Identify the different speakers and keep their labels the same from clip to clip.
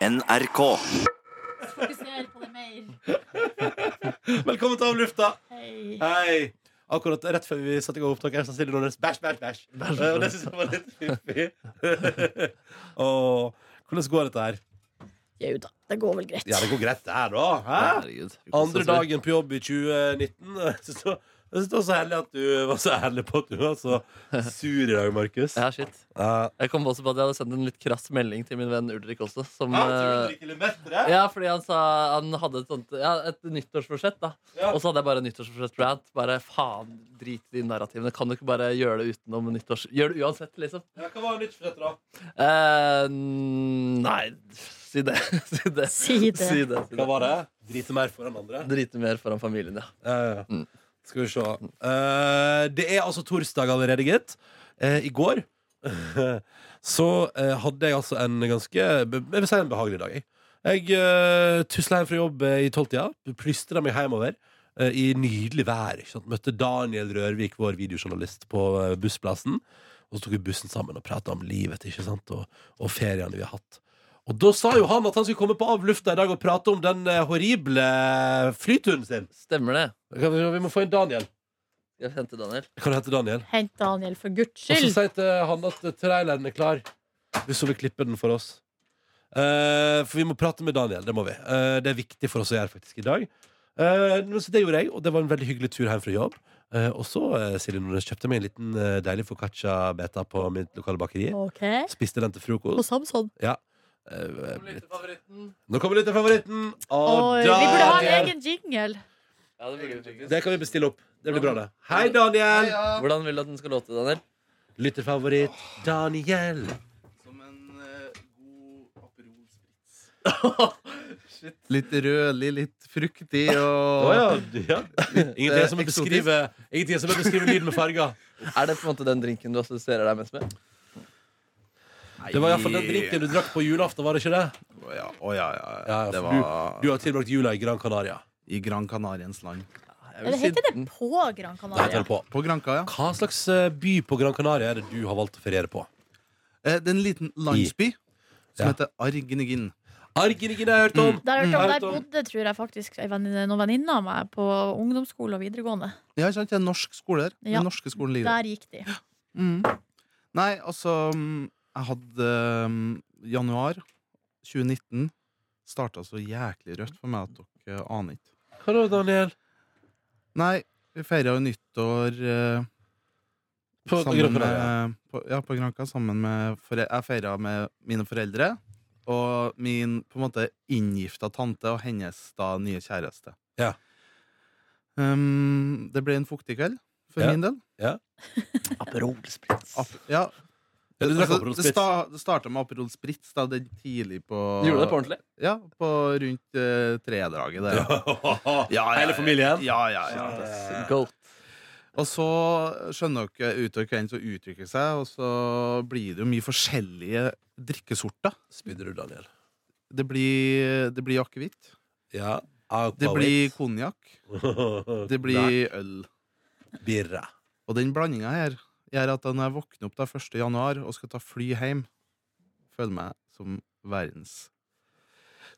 Speaker 1: NRK.
Speaker 2: Fokuser på det mer.
Speaker 3: Velkommen til Av lufta!
Speaker 2: Hei.
Speaker 3: Hei! Akkurat rett før vi satte i gang opptaket, her, så stiller Nordnes bæsj, bæsj, bæsj. Eh, Og det syns jeg var litt fiffig. Åh, hvordan går dette her?
Speaker 2: Jau da, det går vel greit.
Speaker 3: Ja, det går greit, det sånn her, da. Hæ?
Speaker 4: Herregud. vi koser
Speaker 3: Andre
Speaker 4: oss litt.
Speaker 3: dagen på jobb i 2019. Jeg syns det var- jeg syns det var så herlig at du var så herlig på at du var så sur i dag, Markus.
Speaker 4: Ja, shit.
Speaker 3: Ja.
Speaker 4: Jeg kom også på at jeg hadde sendt en litt krass melding til min venn Ulrik også. Som,
Speaker 3: Ja, tror du
Speaker 4: eh,
Speaker 3: drikker Lemaitre?
Speaker 4: ja, fordi han sa han hadde et, sånt, ja, et nyttårsforsett, da.
Speaker 3: Ja.
Speaker 4: Og så hadde jeg bare nyttårsforsett-rant. Bare faen, drit i de narrativene. Kan du ikke bare gjøre det utenom nyttårs... Gjør det uansett, liksom.
Speaker 3: Ja, Hva var nytt for dette, da?
Speaker 4: Eh, nei, si det. si det.
Speaker 2: Si det.
Speaker 4: Si det. Si
Speaker 3: Hva
Speaker 4: det.
Speaker 3: var det? Drite mer foran andre?
Speaker 4: Drite mer foran familien, ja.
Speaker 3: Ja, ja.
Speaker 4: Mm.
Speaker 3: Skal vi se. Eh, det er altså torsdag allerede, gitt. Eh, I går så eh, hadde jeg altså en ganske Jeg vil si en behagelig dag. Jeg, jeg eh, tusla hjem fra jobb eh, i tolvtida, plystra meg hjemover. eh, I nydelig vær. Ikke sant? Møtte Daniel Rørvik, vår videojournalist, på eh, bussplassen. Og så tok vi bussen sammen og prata om livet ikke sant? Og, og feriene vi har hatt. Og da sa jo han at han skulle komme på avlufta i dag og prate om den eh, horrible flyturen sin.
Speaker 4: Stemmer det.
Speaker 3: Kan Vi vi må få inn Daniel.
Speaker 4: Skal jeg hente Daniel?
Speaker 3: Kan du hente Daniel?
Speaker 2: Hent Daniel, for guds
Speaker 3: Og så
Speaker 2: skyld.
Speaker 3: si til han at traileren er klar, hvis hun vil klippe den for oss. Eh, for vi må prate med Daniel. Det må vi Eh, Det er viktig for oss å gjøre faktisk i dag. Eh, men så det gjorde jeg, og det var en veldig hyggelig tur hjem fra jobb. Eh, og så eh, Silje Nordnes kjøpte meg en liten eh, deilig foccaccia beta på mitt lokale bakeri.
Speaker 2: OK.
Speaker 3: Spiste den til
Speaker 2: Og
Speaker 3: frokost.
Speaker 2: Samson.
Speaker 3: Ja. Eh, nå kommer lytterfavoritten.
Speaker 2: Oi,
Speaker 3: Og
Speaker 2: vi burde ha en
Speaker 3: Daniel!
Speaker 2: egen jingle.
Speaker 4: Ja, det burde vi faktisk.
Speaker 3: Det kan vi bestille opp. Det blir bra, det. Hei, Daniel!
Speaker 4: Hvordan vil du at den skal låte, Daniel?
Speaker 3: Lytterfavoritt Daniel.
Speaker 5: Som en
Speaker 6: eh,
Speaker 5: god Aperol Spritz.
Speaker 6: Litt rødlig, litt fruktig og
Speaker 3: Å ja, du- ja. Ingenting
Speaker 6: eh,
Speaker 3: som å
Speaker 6: eksotisk.
Speaker 3: beskrive Ingenting som å beskrive lyden med farger.
Speaker 4: Er det på en måte den drinken du assosierer deg mest med?
Speaker 3: Det var iallfall den drinken du drakk på julaften, var det ikke det?
Speaker 6: Å ja, å ja, ja, ja.
Speaker 3: Ja, ja,
Speaker 6: Det
Speaker 3: for
Speaker 6: var
Speaker 3: Du har tilbrakt jula i Gran Canaria.
Speaker 6: i Gran Canariens land.
Speaker 2: Eller heter det på Gran
Speaker 3: Det heter
Speaker 2: Canaria?
Speaker 3: det på.
Speaker 6: På Granca, ja.
Speaker 3: Hva slags eh, by på Gran Canaria er det du har valgt å feriere på?
Speaker 6: Eh, Det er en liten landsby som
Speaker 3: Ja.
Speaker 6: heter Arginigin.
Speaker 3: Arginigine har jeg hørt om.
Speaker 2: Der,
Speaker 3: Mm.
Speaker 2: der bodde, tror jeg faktisk, ei venninne- noen venninner av meg på ungdomsskole og videregående.
Speaker 6: Ja, ikke sant? Det er en norsk skole der.
Speaker 2: Ja.
Speaker 6: Den norske skolen ligger der.
Speaker 2: Der gikk de.
Speaker 6: Mm. Nei, altså mm, Jeg hadde mm, januar 2019 starta så jæklig rødt for meg at dere aner ikke.
Speaker 3: Hva da, Daniel?
Speaker 6: Nei, vi feira jo nyttår eh,
Speaker 3: På
Speaker 6: sammen
Speaker 3: Gran Canaria.
Speaker 6: Med, på, ja, på Granca. Sammen med fore, Jeg feira med mine foreldre og min på en måte inngifta tante og hennes da nye kjæreste.
Speaker 3: Ja.
Speaker 6: Um, det ble en fuktig kveld for
Speaker 3: Ja.
Speaker 6: min del.
Speaker 4: Aperolsprits.
Speaker 6: Ap- ja,
Speaker 3: Ja, du drakk
Speaker 6: altså,
Speaker 3: Aperol
Speaker 6: det
Speaker 3: Spritz.
Speaker 6: sta, det starta med Aperol Spritz da, det tidlig
Speaker 4: Gjorde
Speaker 6: på
Speaker 4: du det på ordentlig?
Speaker 6: Ja, på rundt uh, tredraget der. Ja, ja,
Speaker 3: Hele
Speaker 6: ja.
Speaker 3: familien?
Speaker 6: Ja, ja, ja.
Speaker 4: Goat.
Speaker 6: Og så skjønner dere utover kvelden så uttrykker det seg, og så blir det jo mye forskjellige drikkesorter.
Speaker 3: Spydde du, Daniel?
Speaker 6: Det blir, det blir akevitt.
Speaker 3: Ja.
Speaker 6: Det blir
Speaker 3: Aquavit.
Speaker 6: konjakk. Det blir øl.
Speaker 3: Nei, Birra.
Speaker 6: Og den blandinga her gjør at når jeg våkner opp da 1. januar og skal ta fly hjem, føler meg som verdens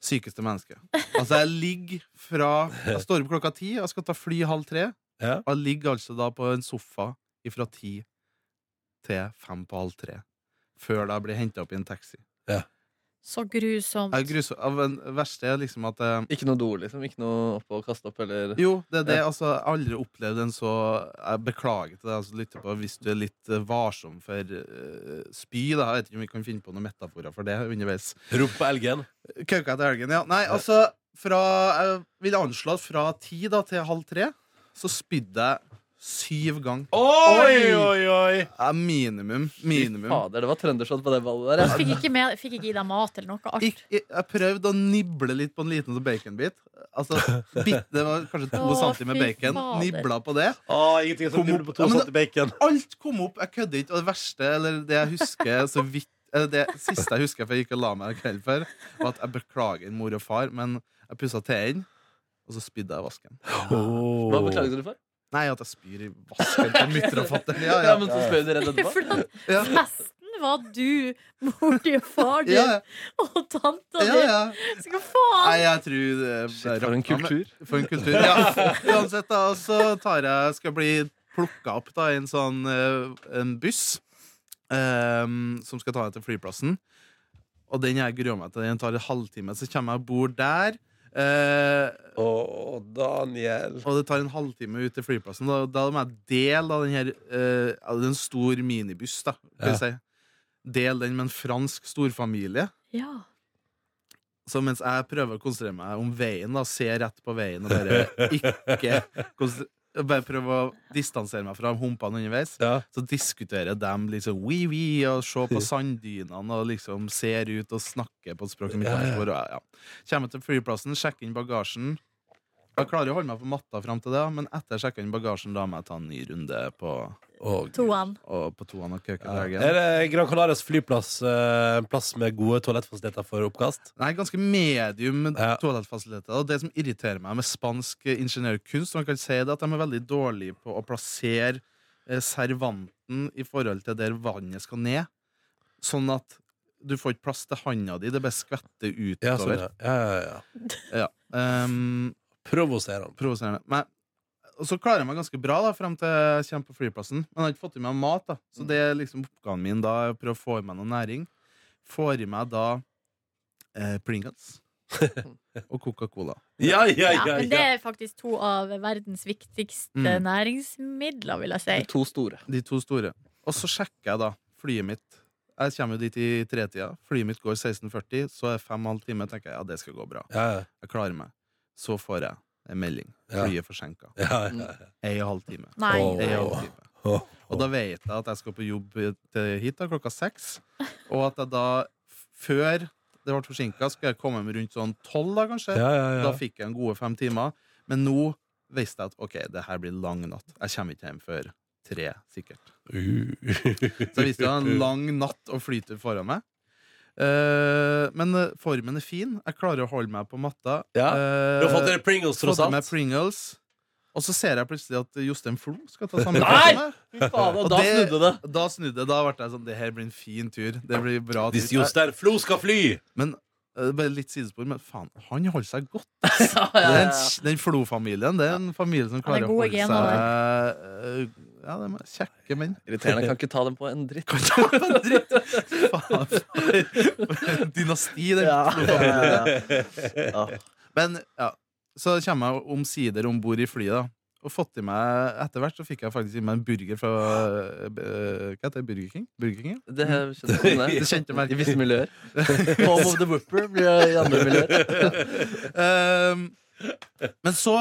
Speaker 6: sykeste menneske. Altså, jeg ligger fra Jeg står opp klokka ti, jeg skal ta fly halv tre.
Speaker 3: Ja.
Speaker 6: Og jeg ligger altså da på en sofa fra ti til fem på halv tre. Før da jeg blir henta opp i en taxi.
Speaker 2: Så grusomt.
Speaker 6: Jeg gruser, av en- det verste er liksom at jeg,
Speaker 4: Ikke noe do, liksom? Ikke noe opp og kaste opp, eller
Speaker 6: Jo, det er det. Altså, jeg har aldri opplevd en så Jeg beklager til deg altså, lytter på hvis du er litt eh, varsom for eh, spy. Da. Jeg vet ikke om vi kan finne på noen metaforer for det underveis.
Speaker 3: Rumpeelgen.
Speaker 6: Kauka etter helgen, ja. Nei, altså fra, Jeg vil anslå at fra ti da, til halv tre så spydde jeg syv ganger.
Speaker 3: Oi, oi, oi!
Speaker 6: Ja, minimum. Minimum.
Speaker 4: Fader, det var trøndershot på det ballet der. Ja.
Speaker 2: Fikk ikke, med, fikk ikke i deg mat eller noe
Speaker 6: Ikk,
Speaker 2: art.
Speaker 6: jeg jeg prøvde å nible litt på en liten sånn baconbit. Altså, bit, det var kanskje to
Speaker 2: Å,
Speaker 6: centimeter
Speaker 2: fy
Speaker 6: bacon.
Speaker 2: fader.
Speaker 6: Nibla på det.
Speaker 3: Å, ingenting som
Speaker 6: Kom
Speaker 3: lurer
Speaker 6: opp.
Speaker 3: på
Speaker 6: Ja,
Speaker 3: to
Speaker 6: men-
Speaker 3: centimeter bacon.
Speaker 6: Alt kom opp, jeg kødder ikke. Og det verste, eller det jeg husker så vidt eller det siste jeg husker før jeg gikk og la meg kvelden før, var at jeg beklager mor og far, men jeg pussa tennene, og så spydde jeg i vasken.
Speaker 4: Hva beklaget du for?
Speaker 6: Nei, at jeg spyr i vasken på mutter og fatter'n. Ja,
Speaker 4: Ja,
Speaker 6: ja.
Speaker 4: men så spør du redd etterpå.
Speaker 2: For den
Speaker 6: ja.
Speaker 2: festen var du, mor di og far din
Speaker 6: Ja, ja.
Speaker 2: og tanta
Speaker 6: ja, ja.
Speaker 2: di. Så hva faen?
Speaker 6: Nei, jeg tror eh, det det
Speaker 4: Shit, for en
Speaker 6: rakna, men-
Speaker 4: kultur.
Speaker 6: For en kultur, ja. Uansett, da, så tar jeg Skal jeg bli plukka opp da, i en sånn eh, En buss eh, som skal ta meg til flyplassen. Og den jeg gruer meg til. Den tar en halvtime. Så kommer jeg og bor der. eh,
Speaker 3: Å, Daniel.
Speaker 6: og det tar en halvtime ut til flyplassen. Da, da må jeg dele av den her eh, av Det er en stor minibuss, da. Vil
Speaker 3: Ja.
Speaker 6: si. Del den med en fransk storfamilie.
Speaker 2: Ja.
Speaker 6: Så mens jeg prøver å konsentrere meg om veien, da, se rett på veien og bare ikke konsen- Bare prøve å distansere meg fra humpene underveis,
Speaker 3: Ja.
Speaker 6: så diskuterer de liksom oui, oui, og se på sanddynene og liksom ser ut og snakker på et språk som ikke jeg forstår. og Ja. Kommer til flyplassen, sjekker inn bagasjen. Jeg klarer å holde meg på matta fram til det, da, men etter jeg sjekker inn bagasjen, da må jeg ta en ny runde på,
Speaker 3: Å, Gud.
Speaker 2: Toan.
Speaker 6: og på toene og
Speaker 3: Ja.
Speaker 6: køkedraget.
Speaker 3: Er det Gran Canarias flyplass eh, en plass med gode toalettfasiliteter for oppkast?
Speaker 6: Nei, ganske medium
Speaker 3: Ja.
Speaker 6: toalettfasiliteter. Og det som irriterer meg med spansk eh, ingeniørkunst, man kan si det at de er veldig dårlige på å plassere eh, servanten i forhold til der vannet skal ned. Sånn at du får ikke plass til handa di. Det bare skvetter
Speaker 3: Ja, sånn,
Speaker 6: utover.
Speaker 3: ja. Ja, ja, ja.
Speaker 6: Ehm,
Speaker 3: Provoserende.
Speaker 6: Provoserende. Men, og så klarer jeg meg ganske bra da, frem til jeg kommer på flyplassen. Men jeg har ikke fått i meg mat, da.
Speaker 3: Mm.
Speaker 6: så det er liksom oppgaven min da, er å prøve å få i meg noe næring. Får i meg da eh, Pringles og Coca-Cola.
Speaker 3: Ja, ja,
Speaker 2: Ja,
Speaker 3: ja,
Speaker 2: men det
Speaker 3: ja.
Speaker 2: er faktisk to av verdens viktigste
Speaker 6: Mm.
Speaker 2: næringsmidler, vil jeg si.
Speaker 4: De to store.
Speaker 6: De to store. Og så sjekker jeg da flyet mitt. Jeg kommer jo dit i tretida. Flyet mitt går 16.40, så er det fem og en halv time. tenker jeg, ja, det skal gå bra.
Speaker 3: Ja, ja,
Speaker 6: Jeg klarer meg. Så får jeg en melding.
Speaker 3: Ja.
Speaker 6: Flyet forsinka.
Speaker 3: ja, ja.
Speaker 6: Ei og en halv time.
Speaker 2: Nei.
Speaker 3: Åh.
Speaker 6: Ei og en
Speaker 2: nei.
Speaker 6: halv time.
Speaker 3: Å,
Speaker 6: Og da vet jeg at jeg skal på jobb til hit da, klokka seks. Og at jeg da, f- før det ble forsinka, skulle jeg komme hjem rundt sånn tolv, da kanskje.
Speaker 3: Ja, ja, ja.
Speaker 6: Da fikk jeg en gode fem timer. Men nå visste jeg at ok, det her blir lang natt. Jeg kommer ikke hjem før tre, sikkert.
Speaker 3: Uh.
Speaker 6: Så jeg visste jo jeg hadde en lang natt og flytur foran meg. Eh, men eh, formen er fin. Jeg klarer å holde meg på matta.
Speaker 3: Ja,
Speaker 6: Eh,
Speaker 3: Du har fått dere Pringles,
Speaker 6: fått
Speaker 3: tross
Speaker 6: i meg
Speaker 3: alt.
Speaker 6: Pringles. Og så ser jeg plutselig at Jostein Flo skal ta samme plass
Speaker 4: Nei!
Speaker 6: som meg.
Speaker 4: Fy faen, og
Speaker 6: Og
Speaker 4: da
Speaker 6: det-
Speaker 4: snudde det.
Speaker 6: Da snudde jeg. Da ble jeg sånn Det her blir en fin tur. Det blir bra tur.
Speaker 3: Hvis Jostein Flo skal fly!
Speaker 6: Men eh, bare litt sidespor, men faen, han holder seg godt.
Speaker 4: Ja, ja, ja,
Speaker 6: Den, den Flo-familien, det er en familie som
Speaker 2: Ja, det
Speaker 6: klarer
Speaker 2: er
Speaker 6: å
Speaker 2: gode
Speaker 6: holde
Speaker 2: gener
Speaker 6: seg eh, Ja, de er kjekke menn.
Speaker 4: Irriterende. Jeg kan ikke ta dem på en dritt.
Speaker 6: Faen, for en dynasti, den
Speaker 4: Ja.
Speaker 6: Flo-familien.
Speaker 4: Ja.
Speaker 6: Men ja, så kommer jeg omsider om bord i flyet, da. Og fått i meg, Etter hvert så fikk jeg faktisk i meg en burger fra eh, Hva heter det? Burger King? Burger King, ja.
Speaker 4: Det kjente jeg sånn,
Speaker 6: Det kjente
Speaker 4: I
Speaker 6: merket.
Speaker 4: visse miljøer. Home of the Whopper blir det i andre miljøer.
Speaker 6: Ehm, men så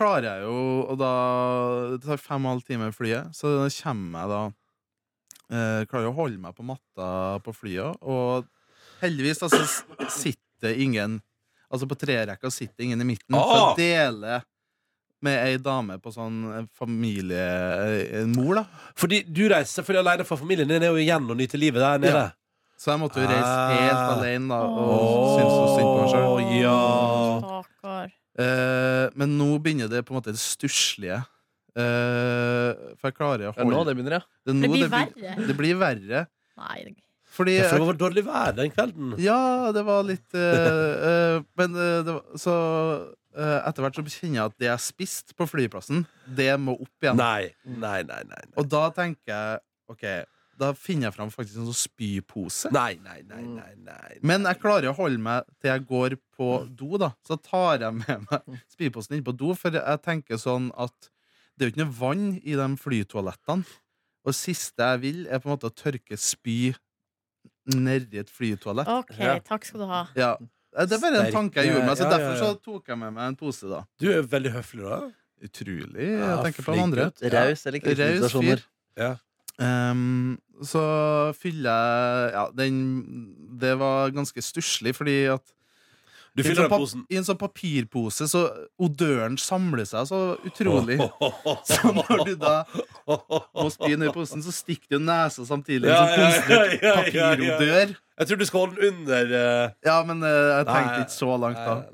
Speaker 6: klarer jeg jo Og da det tar fem og en halv time flyet, så kommer jeg da eh, Klarer å holde meg på matta på flyet, og heldigvis altså, s- sitter ingen Altså på trerekka sitter ingen i midten,
Speaker 3: Ah!
Speaker 6: så jeg deler med ei dame på sånn eh, familie... eh, En mor, da.
Speaker 3: Fordi du reiser selvfølgelig alene for familien din er jo igjen og nyter livet der nede.
Speaker 6: Så jeg måtte jo reise
Speaker 3: Ah.
Speaker 6: helt alene, da, og
Speaker 2: Åh.
Speaker 6: syntes jo synd på meg sjøl.
Speaker 3: Å, ja.
Speaker 2: Stakkar.
Speaker 6: Eh, men nå begynner det på en måte det stusslige. Eh, for jeg klarer å
Speaker 4: Ja, nå
Speaker 6: holde
Speaker 4: det begynner, ja.
Speaker 6: er nå
Speaker 2: Det blir
Speaker 6: begyn-
Speaker 2: verre.
Speaker 6: Det blir verre.
Speaker 2: Nei. det-
Speaker 6: Fordi
Speaker 3: Ja, for det
Speaker 6: jeg,
Speaker 3: var dårlig vær den kvelden.
Speaker 6: Ja, det var litt eh, eh, Men eh, det var, så eh, etter hvert så kjenner jeg at det jeg spiste på flyplassen, det må opp igjen.
Speaker 3: Nei, nei, nei. nei, nei.
Speaker 6: Og da tenker jeg OK, da finner jeg fram faktisk en sånn spypose.
Speaker 3: Nei, nei, nei, nei, nei.
Speaker 6: Men jeg klarer å holde meg til jeg går på do, da. Så tar jeg med meg spyposen inn på do, for jeg tenker sånn at det er jo ikke noe vann i de flytoalettene. Og det siste jeg vil, er på en måte å tørke spy nedi et flytoalett.
Speaker 2: OK,
Speaker 4: Ja.
Speaker 2: takk skal du ha.
Speaker 6: Ja. Eh, Det er bare en
Speaker 3: Sterke-
Speaker 6: tanke jeg gjorde meg, så
Speaker 3: ja, ja,
Speaker 6: derfor så
Speaker 3: ja.
Speaker 6: tok jeg med meg en pose, da.
Speaker 3: Du er veldig høflig, da.
Speaker 6: Utrolig. Jeg
Speaker 3: Ja,
Speaker 6: tenker på
Speaker 3: flink
Speaker 6: den andre.
Speaker 3: gutt. Ja.
Speaker 4: Raus eller
Speaker 6: Raus fyr.
Speaker 4: krisesituasjoner.
Speaker 3: Ja.
Speaker 6: Ehm, så fyller jeg Ja, den Det var ganske stusslig, fordi at
Speaker 3: Du
Speaker 6: I en
Speaker 3: fyller den
Speaker 6: sånn pap-
Speaker 3: posen.
Speaker 6: I en sånn papirpose, så odøren samler seg så utrolig. Så når du da må spy ned i posen, så stikker du nesa samtidig.
Speaker 3: Ja,
Speaker 6: En sånn
Speaker 3: ja,
Speaker 6: konstig
Speaker 3: ja, ja, ja, ja.
Speaker 6: papirodør.
Speaker 3: Jeg tror du skal holde den under eh,
Speaker 6: Ja, men eh, jeg tenkte
Speaker 3: Nei.
Speaker 6: ikke så langt da.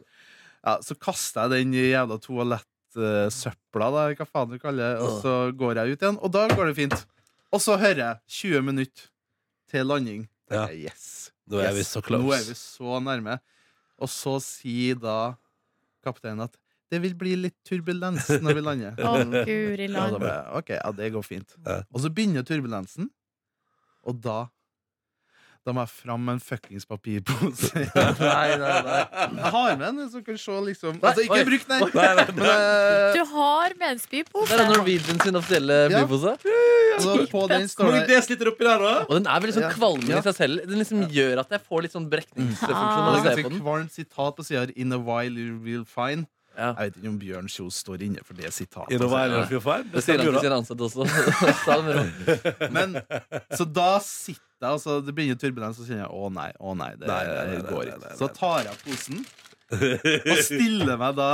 Speaker 6: Ja, så kaster jeg den i jævla toalettsøpla, da, hva faen du kaller det, og så går jeg ut igjen. Og da går det fint. Og så hører jeg 20 minutter til landing.
Speaker 3: Ja.
Speaker 6: Jeg, Yes.
Speaker 3: Nå er vi
Speaker 6: Yes,
Speaker 3: så close.
Speaker 6: Nå er vi så nærme. Og så sier da kapteinen at det vil bli litt turbulens når vi lander.
Speaker 2: Å, guri
Speaker 6: Og da
Speaker 2: land.
Speaker 6: ble jeg, ok, ja, det går fint.
Speaker 3: Ja.
Speaker 6: Og så begynner turbulensen, og da Da må jeg fram med en fuckings papirpose. jeg
Speaker 4: Nei, nei, nei.
Speaker 6: har med en, så kan du se liksom
Speaker 4: Nei,
Speaker 6: Altså, ikke
Speaker 4: oi.
Speaker 6: bruk den!
Speaker 3: Nei, nei,
Speaker 6: Men eh,
Speaker 2: Du har med en
Speaker 4: Det er
Speaker 2: spypose?
Speaker 4: Norwegian sin offisielle
Speaker 6: Ja.
Speaker 4: flypose.
Speaker 6: altså, på den
Speaker 3: Hvor
Speaker 6: står
Speaker 3: mange
Speaker 6: det
Speaker 3: desiliter oppi der, da?
Speaker 4: Og den er veldig sånn
Speaker 6: Ja.
Speaker 4: kvalmende
Speaker 6: Ja.
Speaker 4: i seg selv. Den liksom gjør at jeg får litt sånn brekningsfunksjon.
Speaker 6: og
Speaker 4: når
Speaker 6: Mm. det
Speaker 3: Ah.
Speaker 4: jeg ser på
Speaker 6: er et ganske
Speaker 4: den.
Speaker 6: kvalmt sitat på sida 'In a while you will find'.
Speaker 4: Ja.
Speaker 6: Jeg vet ikke om Bjørn Kjos står inne for det sitatet.
Speaker 3: Innovail
Speaker 4: Ja.
Speaker 3: og Fjordfeil?
Speaker 4: Det sier han til sin ansatte også. Sa han det.
Speaker 6: Men, så da sitter jeg altså, Det begynner turbulens, og så kjenner jeg å nei, å nei, det
Speaker 3: Nei, nei, nei, nei,
Speaker 6: går
Speaker 3: nei, nei,
Speaker 6: ikke.
Speaker 3: nei.
Speaker 6: Så tar jeg posen og stiller meg da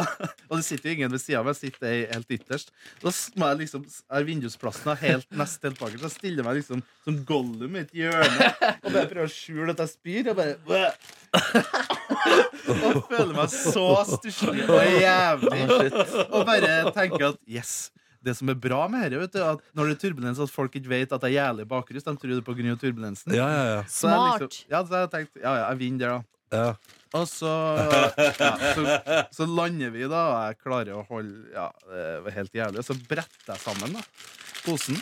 Speaker 6: Og det sitter jo ingen ved sida av meg, jeg sitter jeg helt ytterst. Da s- må jeg liksom er vindusplassen er helt nest helt bakerst. Så jeg stiller meg liksom som Gollum i et hjørne og bare prøver å skjule at jeg spyr. Og bare «Bæ!» Og føler meg så stusslig og jævlig. Og bare tenke at yes det som er bra med dette, vet du, at når det er turbulens, at folk ikke vet at jeg er jævlig bakrus. De tror det er på grunn av turbulensen.
Speaker 3: Ja, ja, ja.
Speaker 6: Så jeg
Speaker 2: Smart.
Speaker 6: Liksom, ja, så jeg tenkte, ja, ja, jeg vinner der, da.
Speaker 3: ja.
Speaker 6: Og så, ja, så, så lander vi, da, og jeg klarer å holde Ja, det var helt jævlig. Og så bretter jeg sammen da, posen,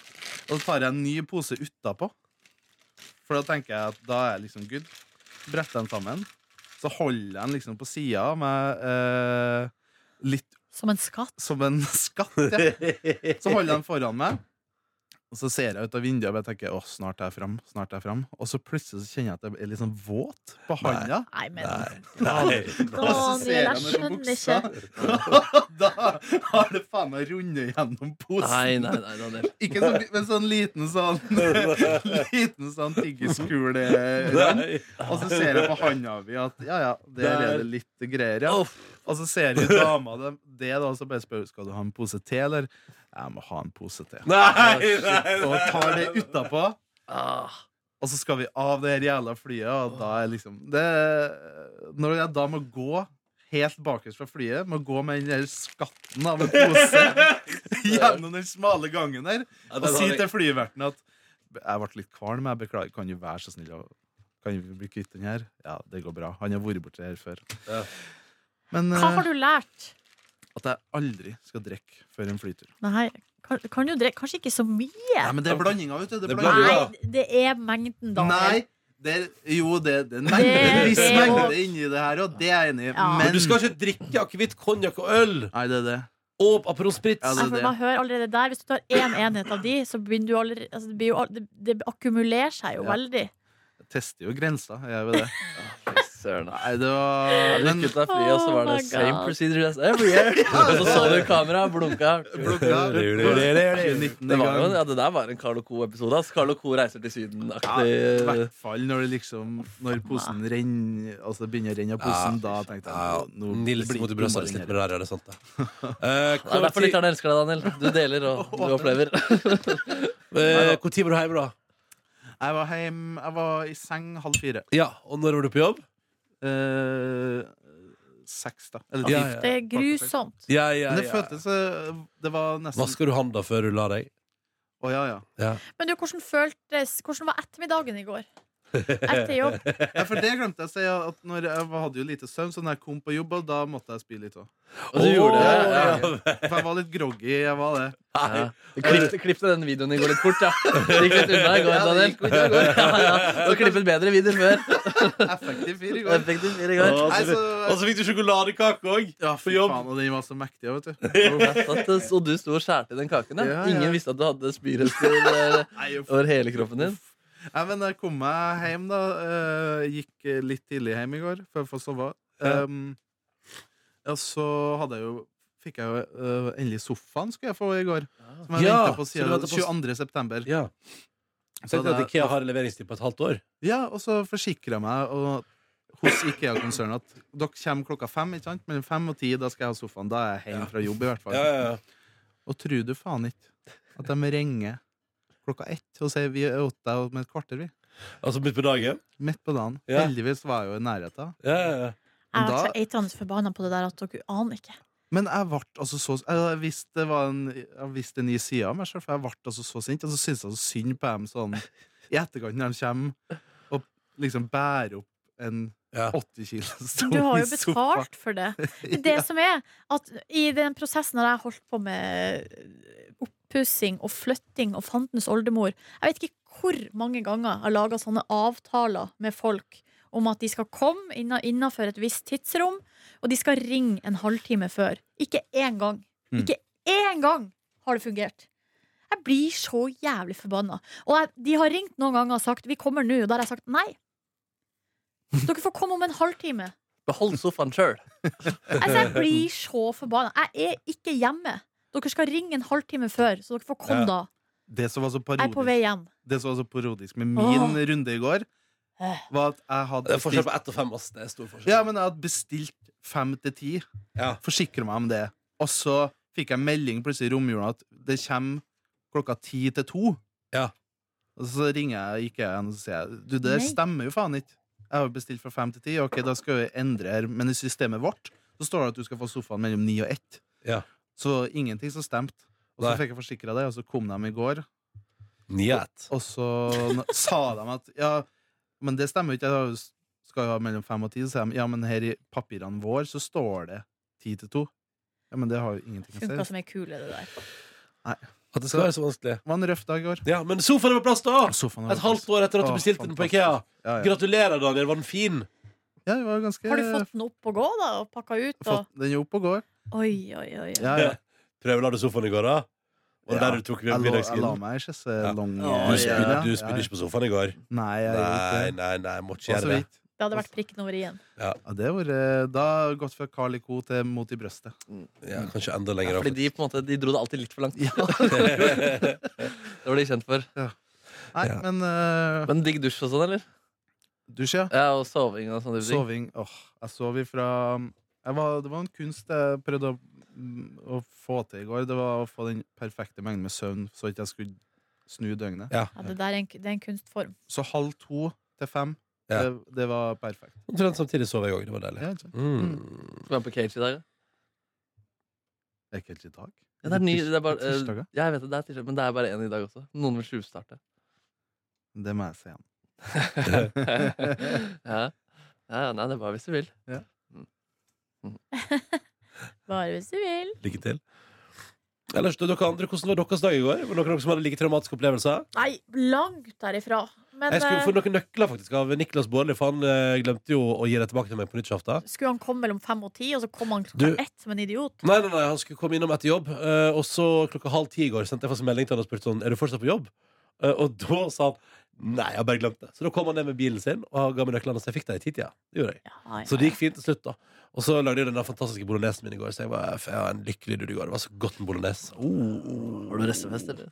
Speaker 6: og så tar jeg en ny pose utapå. For da tenker jeg at da er jeg liksom good. Bretter den sammen. Så holder jeg den liksom på sida med eh, litt
Speaker 2: Som en skatt?
Speaker 6: som en skatt. Ja. Så holder jeg den foran meg, og så ser jeg ut av vinduet og bare tenker å, snart er jeg fram. snart er jeg fram. Og så plutselig så kjenner jeg at jeg er litt sånn våt på handa.
Speaker 2: Nei, men
Speaker 3: Nei.
Speaker 6: Og så
Speaker 2: Daniel,
Speaker 6: ser
Speaker 2: jeg
Speaker 6: jeg meg på
Speaker 2: skjønner
Speaker 6: buksa.
Speaker 2: ikke.
Speaker 6: Da har det faen meg rundet gjennom
Speaker 4: Nei,
Speaker 6: posen.
Speaker 4: nei, nei, Daniel.
Speaker 6: Ikke sånn, men sånn liten sånn Liten sånn tyggiskule.
Speaker 3: Nei.
Speaker 6: Og så ser jeg på handa mi at ja, ja, der er det litt greier, ja.
Speaker 4: Uff.
Speaker 6: Og så ser jeg dama dem det, da, og så bare spør skal du ha en pose til, eller? Jeg må ha en pose til.
Speaker 3: Nei,
Speaker 6: Shit,
Speaker 3: nei,
Speaker 6: Og
Speaker 3: nei.
Speaker 6: tar det utapå,
Speaker 4: Ah.
Speaker 6: og så skal vi av det her jævla flyet, og da er liksom det, Når jeg da må gå helt bakerst fra flyet, må gå med den der skatten av en pose gjennom den smale gangen der,
Speaker 3: Ja,
Speaker 6: og
Speaker 3: den
Speaker 6: si
Speaker 3: har jeg-
Speaker 6: til flyverten at jeg ble litt kvalm, jeg beklager, kan du være så snill å Kan vi bli kvitt den her? Ja, det går bra. Han har vært borti det her før.
Speaker 3: Ja.
Speaker 6: Men
Speaker 2: Hva
Speaker 6: eh,
Speaker 2: har du lært?
Speaker 6: at jeg aldri skal drikke før en flytur.
Speaker 2: Nei, kan, kan du drikke Kanskje ikke så mye?
Speaker 6: Nei, men det er blandinga, vet du. Det
Speaker 3: Det
Speaker 6: er
Speaker 3: er
Speaker 6: blandinga.
Speaker 3: blandinga.
Speaker 2: Nei,
Speaker 3: da.
Speaker 2: det er mengden, Daniel.
Speaker 6: Nei, det er, jo, det, det er en
Speaker 2: Det-
Speaker 6: mengde, en viss
Speaker 2: det er jo-
Speaker 6: mengde inni det her, og det er jeg enig i.
Speaker 2: Ja.
Speaker 3: Men
Speaker 6: Men
Speaker 3: du skal ikke drikke akevitt, konjakk og øl
Speaker 6: Nei, det er det.
Speaker 3: og Aperol Spritz.
Speaker 6: Ja,
Speaker 2: Nei, for
Speaker 6: det er det.
Speaker 2: man hører allerede der Hvis du tar én enhet av de, så begynner du allerede altså, det, blir jo, al- det, det akkumulerer seg jo
Speaker 6: Ja.
Speaker 2: veldig.
Speaker 6: Jeg tester jo grensa, jeg gjør jo det.
Speaker 4: Fy Søren.
Speaker 6: Nei, det var
Speaker 4: Men,
Speaker 6: men,
Speaker 4: gikk ut av flyet, og så var det
Speaker 2: Oh my
Speaker 4: same
Speaker 2: God.
Speaker 4: procedure as every year. Og så så du kameraet, blunka. Det, var jo, ja, det der var en Carl og Co.-episode. ass. Carl og Co. reiser til
Speaker 6: Ja, I
Speaker 4: Syden-aktig.
Speaker 6: hvert fall når det liksom Når posen renner Altså det begynner å renne av posen, da tenkte
Speaker 3: Ja,
Speaker 6: jeg nå, nå
Speaker 3: Nils
Speaker 6: blir
Speaker 3: måtte
Speaker 6: det
Speaker 3: brøste
Speaker 6: bomba
Speaker 3: litt
Speaker 6: den
Speaker 3: med det der, ja, det er sant, det. Eh,
Speaker 4: Det er
Speaker 3: hvor
Speaker 4: derfor
Speaker 3: tid-
Speaker 4: lytterne elsker deg, Daniel. Du deler, og du opplever.
Speaker 3: eh, hvor tid var du hjemme, da?
Speaker 6: her. Jeg var hjemme Jeg var i seng halv fire.
Speaker 3: Ja, Og når var du på jobb?
Speaker 6: Eh, seks, da.
Speaker 3: Ja,
Speaker 6: Eller ti.
Speaker 3: ja.
Speaker 2: Det er grusomt.
Speaker 3: Ja, ja,
Speaker 6: Men det
Speaker 3: ja.
Speaker 6: føltes eh, Det var nesten Å,
Speaker 3: Vasker du handa før du la deg?
Speaker 6: ja, ja.
Speaker 2: Men du, hvordan føltes Hvordan var ettermiddagen i går? Etter jobb?
Speaker 6: Ja, for det glemte jeg å si. At når jeg var- hadde jo lite søvn, så når jeg kom på jobb, og da måtte jeg spy litt òg.
Speaker 4: Og du gjorde det.
Speaker 6: Åh,
Speaker 4: Ja.
Speaker 6: For jeg var litt groggy. Jeg var det.
Speaker 4: Ja. Klipp, klipp til den videoen i går litt fort, ja. Det gikk litt unna i går,
Speaker 6: Ja, det
Speaker 4: Daniel.
Speaker 6: gikk fort i går.
Speaker 4: Ja, ja. Du har klippet bedre videoer før.
Speaker 6: Effektiv fyr i går.
Speaker 4: Effektiv fyr i går.
Speaker 6: Nei, så-
Speaker 3: så fikk du sjokoladekake òg!
Speaker 6: Ja, fy
Speaker 3: jobb.
Speaker 6: faen, og den var så mektig, vet du.
Speaker 4: Satt, eh, Og du sto og skjærte i den kaken.
Speaker 6: Ja,
Speaker 4: Ja.
Speaker 6: ja.
Speaker 4: Ingen visste at du hadde spyrester eh,
Speaker 6: Nei, uff.
Speaker 4: over hele kroppen din.
Speaker 6: Nei, men jeg kom meg hjem, da. eh, Gikk eh, litt tidlig hjem i går for å få sove. Um, ja, så hadde jeg jo Fikk jeg jo eh, endelig sofaen skulle jeg få i går. Som
Speaker 3: Ah.
Speaker 6: jeg
Speaker 3: Ja,
Speaker 6: ventet på
Speaker 3: så du
Speaker 6: siden
Speaker 3: ventet på-
Speaker 6: 22. september.
Speaker 3: Ja.
Speaker 6: Så
Speaker 3: Tenkte at
Speaker 6: det-
Speaker 3: Ikea har leveringstid på et halvt år.
Speaker 6: Ja, og så forsikrer jeg meg og, hos IKEA-konsernet at dere kommer klokka fem. ikke sant? Mellom fem og ti, da skal jeg ha sofaen. Da er jeg hjemme fra jobb, i hvert fall.
Speaker 3: ja,
Speaker 6: Og tror du faen ikke at de ringer klokka ett og sier vi er åtte deg om et kvarter, vi.
Speaker 3: Altså midt på dagen?
Speaker 6: Midt på dagen.
Speaker 3: Ja.
Speaker 6: Heldigvis var jeg jo i nærheten.
Speaker 3: Ja, ja, ja.
Speaker 2: Jeg har
Speaker 6: Da-
Speaker 2: vært så eitrende forbanna på det der at dere aner ikke.
Speaker 6: Men jeg ble altså så Jeg visste det var en, jeg visste en ny side av meg sjøl, for jeg ble altså så sint. Og så syntes jeg så synd på dem sånn i etterkant når de kommer og liksom bærer opp en
Speaker 3: Ja.
Speaker 6: 80 kilo stor
Speaker 2: Du har jo
Speaker 6: sofa.
Speaker 2: betalt for det. Det er det som er at i den prosessen når jeg holdt på med eh, oppussing og flytting og fantens oldemor Jeg vet ikke hvor mange ganger jeg har laga sånne avtaler med folk om at de skal komme inna- innafor et visst tidsrom, og de skal ringe en halvtime før. Ikke én gang.
Speaker 6: Mm.
Speaker 2: Ikke én gang har det fungert. Jeg blir så jævlig forbanna. Og jeg, de har ringt noen ganger og sagt 'vi kommer nå', og da har jeg sagt nei. Dere får komme om en halvtime.
Speaker 4: Behold sofaen sjøl.
Speaker 2: Altså, jeg blir så forbanna. Jeg er ikke hjemme. Dere skal ringe en halvtime før, så dere får komme
Speaker 3: Ja.
Speaker 2: da.
Speaker 6: Det som var så
Speaker 2: Jeg er på vei
Speaker 6: parodisk,
Speaker 2: hjem.
Speaker 6: det som var så parodisk med min
Speaker 2: Åh.
Speaker 6: runde i går,
Speaker 2: Eh.
Speaker 6: var at jeg hadde
Speaker 3: Det er forskjell
Speaker 6: bestilt,
Speaker 3: på ett og fem. Ass. Det er stor forskjell.
Speaker 6: ja, men jeg hadde bestilt fem til ti.
Speaker 3: Ja.
Speaker 6: Forsikra meg om det. Og så fikk jeg melding plutselig i romjulen at det kommer klokka ti til to.
Speaker 3: Ja.
Speaker 6: Og så ringer jeg IKEA igjen og så sier jeg, du, det
Speaker 2: Nei.
Speaker 6: stemmer jo faen ikke. Jeg har jo bestilt fra fem til ti. Ok, da skal vi endre her. Men i systemet vårt så står det at du skal få sofaen mellom ni og ett.
Speaker 3: Ja.
Speaker 6: Så ingenting som stemte. Og
Speaker 3: Nei.
Speaker 6: så fikk jeg forsikra det, og så kom de i går.
Speaker 3: Njet.
Speaker 6: Og så n- sa de at ja, men det stemmer jo ikke, jeg har jo s- skal jo ha mellom fem og ti. Så sa de ja, men her i papirene våre så står det ti til to. Ja, men det har jo ingenting å si.
Speaker 2: Funka
Speaker 6: Det
Speaker 2: som ei kule, det der.
Speaker 3: At det skal være så vanskelig.
Speaker 6: var en røff dag i går.
Speaker 3: Ja, Men sofaen er på plass, da!
Speaker 6: Sofaen var
Speaker 3: Et halvt år etter at du
Speaker 6: Å,
Speaker 3: bestilte den på
Speaker 6: fantastisk.
Speaker 3: Ikea.
Speaker 6: Ja, ja.
Speaker 3: Gratulerer, Daniel. Var den fin?
Speaker 6: ja, det var ganske
Speaker 2: Har du fått den opp og gå, da? Og pakka ut?
Speaker 6: fått den jo opp og går.
Speaker 2: Og... Oi, oi, oi. oi.
Speaker 6: Ja, ja.
Speaker 3: Prøvela du sofaen i går, da? Var det
Speaker 6: Ja,
Speaker 3: der du tok
Speaker 6: Jeg, lå, jeg la
Speaker 3: middagskrigen?
Speaker 6: meg i
Speaker 3: Ja.
Speaker 6: sesselong.
Speaker 4: Ja,
Speaker 3: Du
Speaker 4: ja,
Speaker 3: spydde
Speaker 4: ja.
Speaker 3: du spydde ikke på sofaen i går?
Speaker 6: Nei, jeg gjorde
Speaker 3: Nei,
Speaker 6: ikke det.
Speaker 3: nei, nei, må ikke
Speaker 6: Det var så
Speaker 3: gjøre det.
Speaker 6: vidt.
Speaker 2: Det hadde vært prikk nummer én.
Speaker 6: Ja, det var, eh, da har jeg gått fra Carl I. Co. til mot i brøstet.
Speaker 3: Ja, kanskje enda
Speaker 4: Ja,
Speaker 3: lenger
Speaker 4: fordi
Speaker 3: opp.
Speaker 4: de, på en måte, de dro det alltid litt for langt. det var de kjent for.
Speaker 6: Nei,
Speaker 3: Ja.
Speaker 6: men uh,
Speaker 4: Men digg dusj og sånn, eller?
Speaker 6: dusj, ja.
Speaker 4: Ja, og soving og sånne ting.
Speaker 6: Soving. Åh, jeg sov ifra um, jeg var, Det var en kunst jeg prøvde å, mm, å få til i går. Det var å få den perfekte mengden med søvn, så ikke jeg skulle snu døgnet.
Speaker 2: Ja, det der er en, det er en kunstform.
Speaker 6: Så halv to til fem,
Speaker 3: Ja.
Speaker 6: det, det var perfekt.
Speaker 3: Omtrent samtidig sov jeg òg. Det var deilig.
Speaker 6: Ja, ikke sant?
Speaker 3: Mm.
Speaker 4: Skal være på cage i dag, ja.
Speaker 6: Det er ikke helt i dag.
Speaker 4: Ja, det er ny,
Speaker 6: tirs-
Speaker 4: det er bare, eh,
Speaker 6: tirsdager.
Speaker 4: ja, jeg vet det, det er tirsdag, men det er bare én i dag også. Noen vil tjuvstarte.
Speaker 6: Det må jeg si igjen.
Speaker 4: ja. ja, ja, nei, det er bare hvis du vil.
Speaker 2: Bare hvis du vil.
Speaker 3: Lykke til. Ellers, du, dere andre, Hvordan var deres dag i går? Var det noen av dere som hadde like traumatiske opplevelser?
Speaker 2: Nei, langt derifra. Men
Speaker 3: Jeg skulle
Speaker 2: eh,
Speaker 3: få noen nøkler faktisk av Niklas Baarli, for han eh, glemte jo å gi det tilbake til meg på nyttårsaften.
Speaker 2: skulle han komme mellom fem og ti, og så kom han klokka
Speaker 3: Du-
Speaker 2: ett som en idiot?
Speaker 3: Nei, nei, nei, han skulle komme innom etter jobb, eh, og så klokka halv ti i går sendte jeg faktisk en melding til han og spurte sånn Er du fortsatt på jobb? Eh, og da sa han nei, jeg har bare glemt det. Så da kom han ned med bilen sin og ga meg nøklene, så jeg fikk det i titida. Det gjorde jeg.
Speaker 2: Ja, ja,
Speaker 3: Så det gikk fint til slutt, da. Og så lagde jeg den der fantastiske bolognesen min i går, så jeg var jeg var en lykkelig dude i går. Det var så godt med bolognese.
Speaker 4: Har du restefest, eller?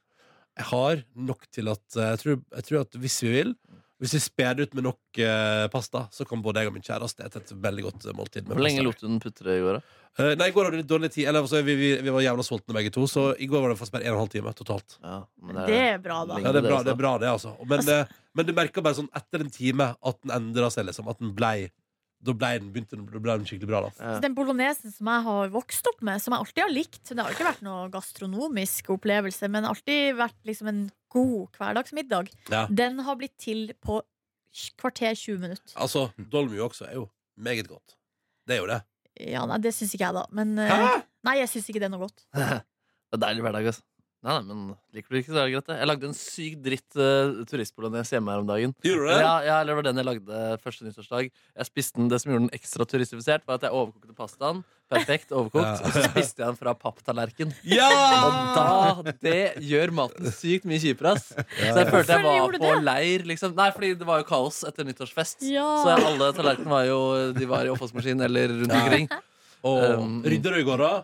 Speaker 3: Jeg har nok til at eh, jeg tror, jeg tror at hvis vi vil hvis vi speder ut med nok eh, pasta, så kan både jeg og min kjæreste ete et veldig godt eh, måltid. Med
Speaker 4: Hvor lenge
Speaker 3: pasta.
Speaker 4: lot du den putre i går, da?
Speaker 3: Eh, nei, I går hadde vi litt dårlig tid. Eller, altså, vi, vi, vi var jævla sultne begge to, så i går var det faktisk bare en og en halv time totalt.
Speaker 4: Ja, men
Speaker 2: ja. Det er bra, da.
Speaker 3: Ja, det er bra, det, er bra, det altså. Men, eh, men du merka bare sånn etter en time at den endra seg, liksom. At den blei Da blei den, begynte den, da blei den skikkelig bra, da.
Speaker 2: Så den bolognesen som jeg har vokst opp med, som jeg alltid har likt Det har ikke vært noe gastronomisk opplevelse, men alltid vært liksom en god hverdagsmiddag.
Speaker 3: Ja.
Speaker 2: Den har blitt til på kvarter 20 minutter.
Speaker 3: Altså, dolmio også er jo meget godt. Det er jo det.
Speaker 2: Ja, nei, det syns ikke jeg, da. Men eh,
Speaker 3: Hæ?
Speaker 2: Nei, jeg syns ikke det er noe godt.
Speaker 4: Det er deilig hverdag, altså. Nei, nei, men liker du ikke så er det greit, det. Jeg lagde en syk dritt uh, turistbolognese hjemme her om dagen.
Speaker 3: Gjorde du det?
Speaker 4: Ja, ja, eller det var den jeg lagde første nyttårsdag. Jeg spiste den, Det som gjorde den ekstra turistifisert, var at jeg overkokte pastaen. Perfekt overkokt.
Speaker 3: Ja.
Speaker 4: Og så spiste jeg den fra papptallerken.
Speaker 3: Ja!
Speaker 4: Og
Speaker 2: Ah!
Speaker 4: da Det gjør maten sykt mye kjipere, ass. Så jeg følte
Speaker 2: Hvorfor
Speaker 4: jeg var
Speaker 2: gjorde du
Speaker 4: på leir, liksom. Nei, fordi det var jo kaos etter nyttårsfest.
Speaker 2: Ja.
Speaker 4: Så alle tallerkenene var jo De var i oppvaskmaskinen eller rundt
Speaker 3: Ja.
Speaker 4: omkring.
Speaker 3: Og
Speaker 4: Um,
Speaker 3: rydder du i går, da?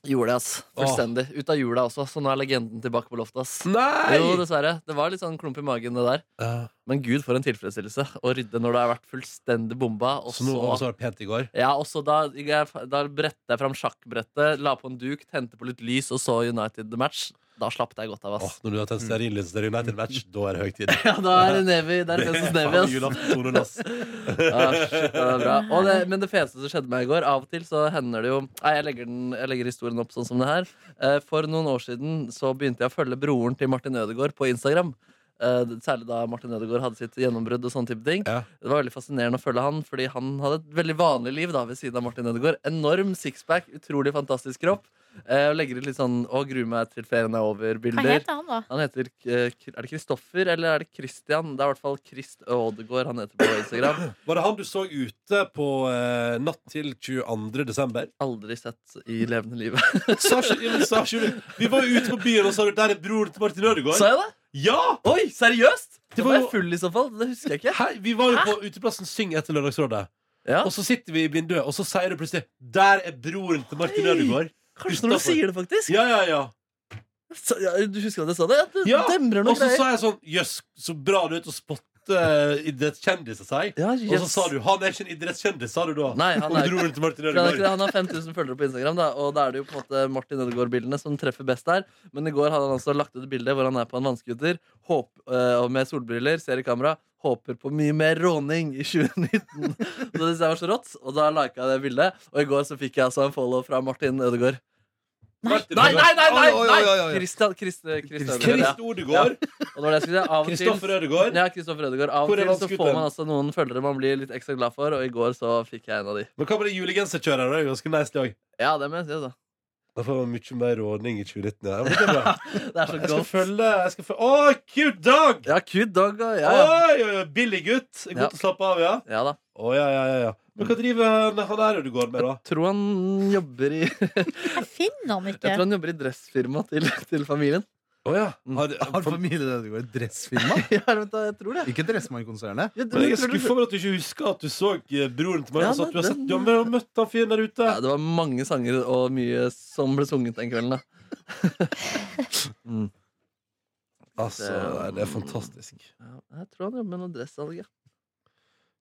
Speaker 4: Gjorde det, ass. Fullstendig. Ut av jula også, så nå er legenden tilbake på loftet, ass.
Speaker 3: Nei! Eh,
Speaker 4: Jo, dessverre. Det var litt sånn klump i magen, det der.
Speaker 3: Ja,
Speaker 4: Men gud, for en tilfredsstillelse å rydde når du har vært fullstendig bomba. Og
Speaker 3: så nå og så var det pent i går.
Speaker 4: ja, og så da, jeg, da brettet jeg fram sjakkbrettet, la på en duk, tente på litt lys og så United match. Da slapp jeg godt av,
Speaker 3: Åh,
Speaker 4: ass.
Speaker 3: når du har tatt stearinlys til United Match, da er det høytid.
Speaker 4: Ja, da er det Navy. Det er Fences Navy, ass.
Speaker 3: julaftentonen, ass.
Speaker 4: Ah, shit, det var bra. Og det, men det feteste som skjedde meg i går Av og til så hender det jo Nei, jeg legger, den, jeg legger historien opp sånn som det her. Eh, For noen år siden så begynte jeg å følge broren til Martin Ødegaard på Instagram. eh, særlig da Martin Ødegaard hadde sitt gjennombrudd. og sånne type ting
Speaker 3: Ja.
Speaker 4: Det var veldig fascinerende å følge han, fordi han hadde et veldig vanlig liv da ved siden av Martin Ødegaard. Enorm sixpack, utrolig fantastisk kropp. Eh, og legger ut litt sånn 'Å, gruer meg til ferien er
Speaker 2: Hva
Speaker 4: over'-bilder.
Speaker 2: heter han, da?
Speaker 4: Han heter eh, Kr- Er det Kristoffer eller er det Christian? Det er i hvert fall Krist Ødegaard han heter på Instagram.
Speaker 3: Var det han du så ute på eh, natt til 22. desember?
Speaker 4: Aldri sett i levende liv.
Speaker 3: Sa ikke- ja, men sa ikke du- Vi var jo ute på byen og sa du, der er broren til Martin Ødegaard.
Speaker 4: Sa jeg det?
Speaker 3: Ja!
Speaker 4: Oi, seriøst?
Speaker 3: Det
Speaker 4: Det
Speaker 3: var
Speaker 4: var
Speaker 3: jo-
Speaker 4: jeg full i så fall. Det husker jeg ikke.
Speaker 3: Hei, vi var jo på uteplassen Syng etter Lørdagsrådet.
Speaker 4: Ja.
Speaker 3: Og så sitter vi i Blindø, og så sier du plutselig 'Der er broren til Martin
Speaker 4: Hei.
Speaker 3: Ødegaard'.
Speaker 4: Kanskje når du
Speaker 3: Kristoffer.
Speaker 4: sier det, faktisk.
Speaker 3: Ja, ja, ja.
Speaker 4: Så, ja, du husker at jeg sa det? Det
Speaker 3: Ja,
Speaker 4: demrer
Speaker 3: Og
Speaker 4: noen
Speaker 3: så
Speaker 4: greier.
Speaker 3: sa jeg sånn 'Jøss, så bra du er ute og spotter idrettskjendiser', sa jeg.
Speaker 4: Ja,
Speaker 3: Og så
Speaker 4: yes.
Speaker 3: sa du 'Han er ikke en idrettskjendis', sa du da.
Speaker 4: Nei, han
Speaker 3: Om
Speaker 4: er-
Speaker 3: broren til Martin
Speaker 4: For Han, er ikke det.
Speaker 3: Ødegaard.
Speaker 4: han har 5000 følgere på Instagram, da, og da er det jo på en måte Martin Ødegaard-bildene som treffer best der. Men i går hadde han altså lagt ut et bilde hvor han er på en vannskuter håp, øh, og med solbriller, ser i kamera, håper på mye mer råning i 2019. Så det synes jeg var så rått, og da lika jeg det bildet. Og i går så fikk jeg altså en follow fra Martin Ødegaard.
Speaker 3: Martin
Speaker 4: Nei, nei, nei! nei,
Speaker 6: Oi, oi,
Speaker 4: nei!
Speaker 6: oi, oi, oi.
Speaker 4: Christian, Christ, Christ, Ødegaard, ja.
Speaker 3: Krist Odegård.
Speaker 4: Og det var det jeg skulle si. Av og til
Speaker 3: Kristoffer Ødegaard.
Speaker 4: ja, Kristoffer Ødegaard. Av
Speaker 3: Hvor er
Speaker 4: og til så
Speaker 3: vannscooteren?
Speaker 4: får man altså noen følgere man blir litt ekstra glad for, og i går så fikk jeg en av de.
Speaker 3: Men hva med det julegenserkjøret? Det er jo ganske nice dag.
Speaker 4: Ja, det må jeg si, altså.
Speaker 3: Da får man mye mer rådning i 2019. Ja. Men det er bra.
Speaker 4: Det er så
Speaker 3: Jeg skal
Speaker 4: godt.
Speaker 3: følge jeg skal følge. Å, cute dog!
Speaker 4: Ja, kud dog, og ja, ja.
Speaker 3: Oi, oi, oi, billig gutt. Godt
Speaker 4: Ja.
Speaker 3: å slappe av, ja.
Speaker 4: Ja da.
Speaker 3: Å, ja, ja, ja, ja. Men hva driver han han der du går med, da?
Speaker 4: Tror han jobber i Jeg
Speaker 2: Jeg finner han ikke.
Speaker 4: tror han jobber i dressfirma til, til familien.
Speaker 3: Å ja. Har,
Speaker 6: Har
Speaker 3: for,
Speaker 6: familien Ødegaard et dressfirma?
Speaker 4: Ja, vent da, jeg tror det.
Speaker 6: Ikke Dressmann-konsernet?
Speaker 4: Jeg,
Speaker 3: men jeg er
Speaker 4: tror det-
Speaker 3: skuffa over at du ikke husker at du så eh, broren til meg.
Speaker 4: Ja,
Speaker 3: altså, at
Speaker 4: nei,
Speaker 3: du har sett,
Speaker 4: den-
Speaker 3: du har mø- møtt han fyren der ute.
Speaker 4: ja, det var mange sanger og mye som ble sunget den kvelden. da Mm.
Speaker 3: Altså, nei, det er fantastisk.
Speaker 4: Ja, Jeg tror han jobber med noe dressalg. ja.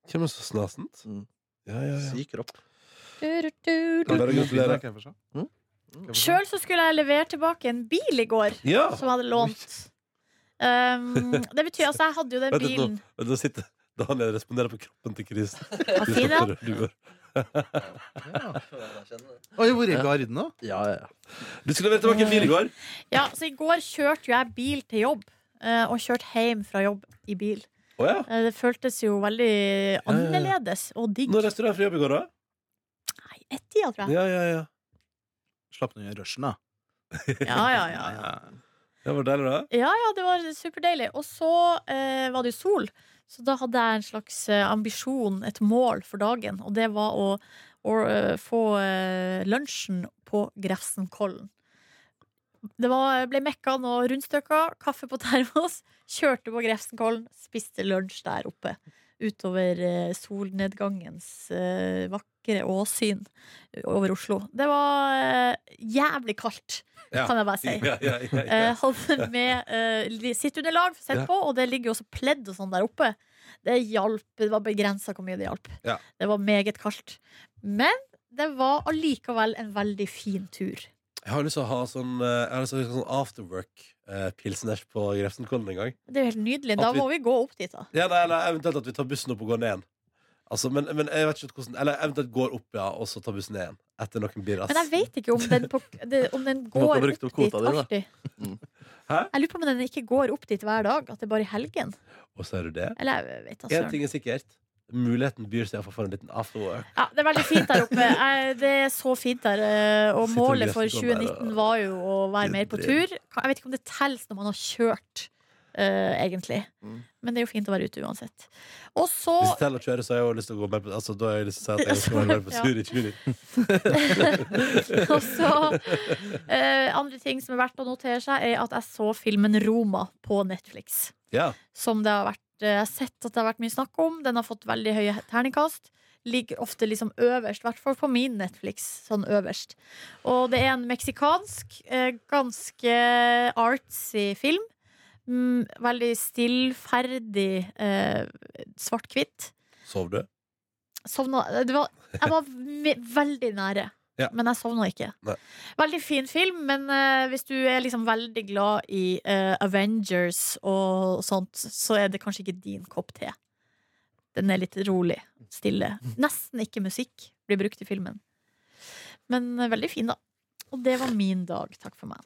Speaker 3: Hvem er så snasent?
Speaker 4: Mm.
Speaker 3: Ja, ja, ja.
Speaker 4: Syk kropp.
Speaker 2: Du, du, du.
Speaker 3: Kan bare gratulere.
Speaker 6: Kan jeg få se?
Speaker 4: Mm.
Speaker 6: Kan jeg få se?
Speaker 2: Sjøl så skulle jeg levere tilbake en bil i går
Speaker 3: Ja.
Speaker 2: som jeg hadde lånt. Um, det betyr altså, jeg hadde jo den
Speaker 3: Vent litt nå.
Speaker 2: bilen.
Speaker 3: Da sitter Daniel og responderer på kroppen til Chris.
Speaker 2: Var fin, ja.
Speaker 3: Du
Speaker 6: Oi, hvor er garden nå?
Speaker 4: Ja, ja, ja.
Speaker 3: skulle levere tilbake en bil i går.
Speaker 2: ja. Så i går kjørte jo jeg bil til jobb, eh, og kjørte hjem fra jobb i bil.
Speaker 3: Å ja.
Speaker 2: Eh, Det føltes jo veldig annerledes og digg.
Speaker 3: Når restaurant fri jobb i går, da?
Speaker 2: Nei, ett-tida, tror jeg.
Speaker 3: Ja, ja, ja.
Speaker 6: Slapp nå unna rushen, da.
Speaker 2: Ja, ja, ja, ja.
Speaker 3: Det var deilig, da.
Speaker 2: Ja, ja, det var superdeilig. Og så eh, var det jo sol, så da hadde jeg en slags eh, ambisjon, et mål for dagen, og det var å, å eh, få eh, lunsjen på Grefsenkollen. Det var, ble mekka noen rundstykker, kaffe på termos, kjørte på Grefsenkollen, spiste lunsj der oppe. Utover eh, solnedgangens eh, vakre åsyn over Oslo. Det var eh, jævlig kaldt,
Speaker 3: Ja.
Speaker 2: kan jeg bare si.
Speaker 3: Ja, ja, ja, ja.
Speaker 2: Eh, hadde med eh, li- sitteunderlag for å sette
Speaker 3: Ja.
Speaker 2: på, og det ligger jo også pledd og sånn der oppe. Det hjalp. Det var begrensa hvor mye det hjalp.
Speaker 3: Ja.
Speaker 2: Det var meget kaldt. Men det var allikevel en veldig fin tur.
Speaker 3: Jeg har lyst til å ha sånn, eh, jeg har lyst til å ha sånn afterwork-pilsners på Grefsenkollen en gang.
Speaker 2: Det er jo helt nydelig.
Speaker 3: At
Speaker 2: Da
Speaker 3: vi-
Speaker 2: må vi gå opp dit, da.
Speaker 3: Ja, nei, nei, Eventuelt at vi tar bussen opp og går ned igjen. Altså, men, men jeg vet ikke hvordan Eller eventuelt går opp, ja, og så tar bussen ned igjen. Etter noen birras.
Speaker 2: Men jeg vet ikke om den, på, det, om den
Speaker 4: måtte ha
Speaker 2: går
Speaker 4: brukt
Speaker 2: opp dit
Speaker 4: opp kvota di, da.
Speaker 2: alltid.
Speaker 4: Mm.
Speaker 3: Hæ?
Speaker 2: Jeg lurer på om den ikke går opp dit hver dag. At det bare er i helgen.
Speaker 3: Og så er du det.
Speaker 2: Eller jeg vet da
Speaker 3: Én
Speaker 2: søren.
Speaker 3: ting er sikkert. Muligheten byr seg iallfall for en liten afterwork.
Speaker 2: Ja, det er veldig fint der oppe. Jeg- Det er så fint der. eh, Og
Speaker 3: Sitter og
Speaker 2: målet for
Speaker 3: leser på den der,
Speaker 2: 2019 var jo å være mer på tur.
Speaker 3: Driv.
Speaker 2: Jeg vet ikke om det telles når man har kjørt, eh, egentlig.
Speaker 4: Mm.
Speaker 2: Men det er jo fint å være ute uansett. Og
Speaker 3: Hvis
Speaker 2: så
Speaker 3: det teller å kjøre, så har jeg jo lyst til å gå med på Altså, da har jeg lyst til å si at jeg skal være med på
Speaker 2: Ja.
Speaker 3: tur i 2019.
Speaker 2: Og så eh, Andre ting som er verdt å notere seg, er at jeg så filmen Roma på Netflix.
Speaker 3: Ja.
Speaker 2: Som det har vært, eh, jeg har sett at det har vært mye snakk om. Den har fått veldig høye terningkast. Ligger ofte liksom øverst, i hvert fall på min Netflix. Sånn øverst. Og det er en meksikansk, eh, ganske artsy film. Mm, veldig stillferdig eh, svart-hvitt.
Speaker 3: Sov du?
Speaker 2: Sovna det var, Jeg var ve- veldig nære.
Speaker 3: Ja.
Speaker 2: Men jeg sovna ikke.
Speaker 3: Nei.
Speaker 2: Veldig fin film, men eh, hvis du er liksom veldig glad i eh, Avengers og sånt, så er det kanskje ikke din kopp te. Den er litt rolig, stille. Nesten ikke musikk blir brukt i filmen. Men eh, veldig fin, da. Og det var min dag. Takk for meg.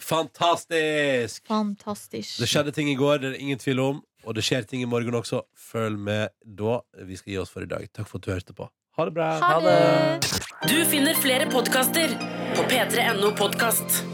Speaker 3: Fantastisk! Det
Speaker 2: Fantastisk.
Speaker 3: skjedde ting i går, det er det ingen tvil om. Og det skjer ting i morgen også. Følg med da. Vi skal gi oss for i dag. Takk for at du hørte på. Ha det bra.
Speaker 2: Ha
Speaker 7: Ha
Speaker 2: det!
Speaker 7: det.
Speaker 4: Du finner flere podkaster på p3.no podkast.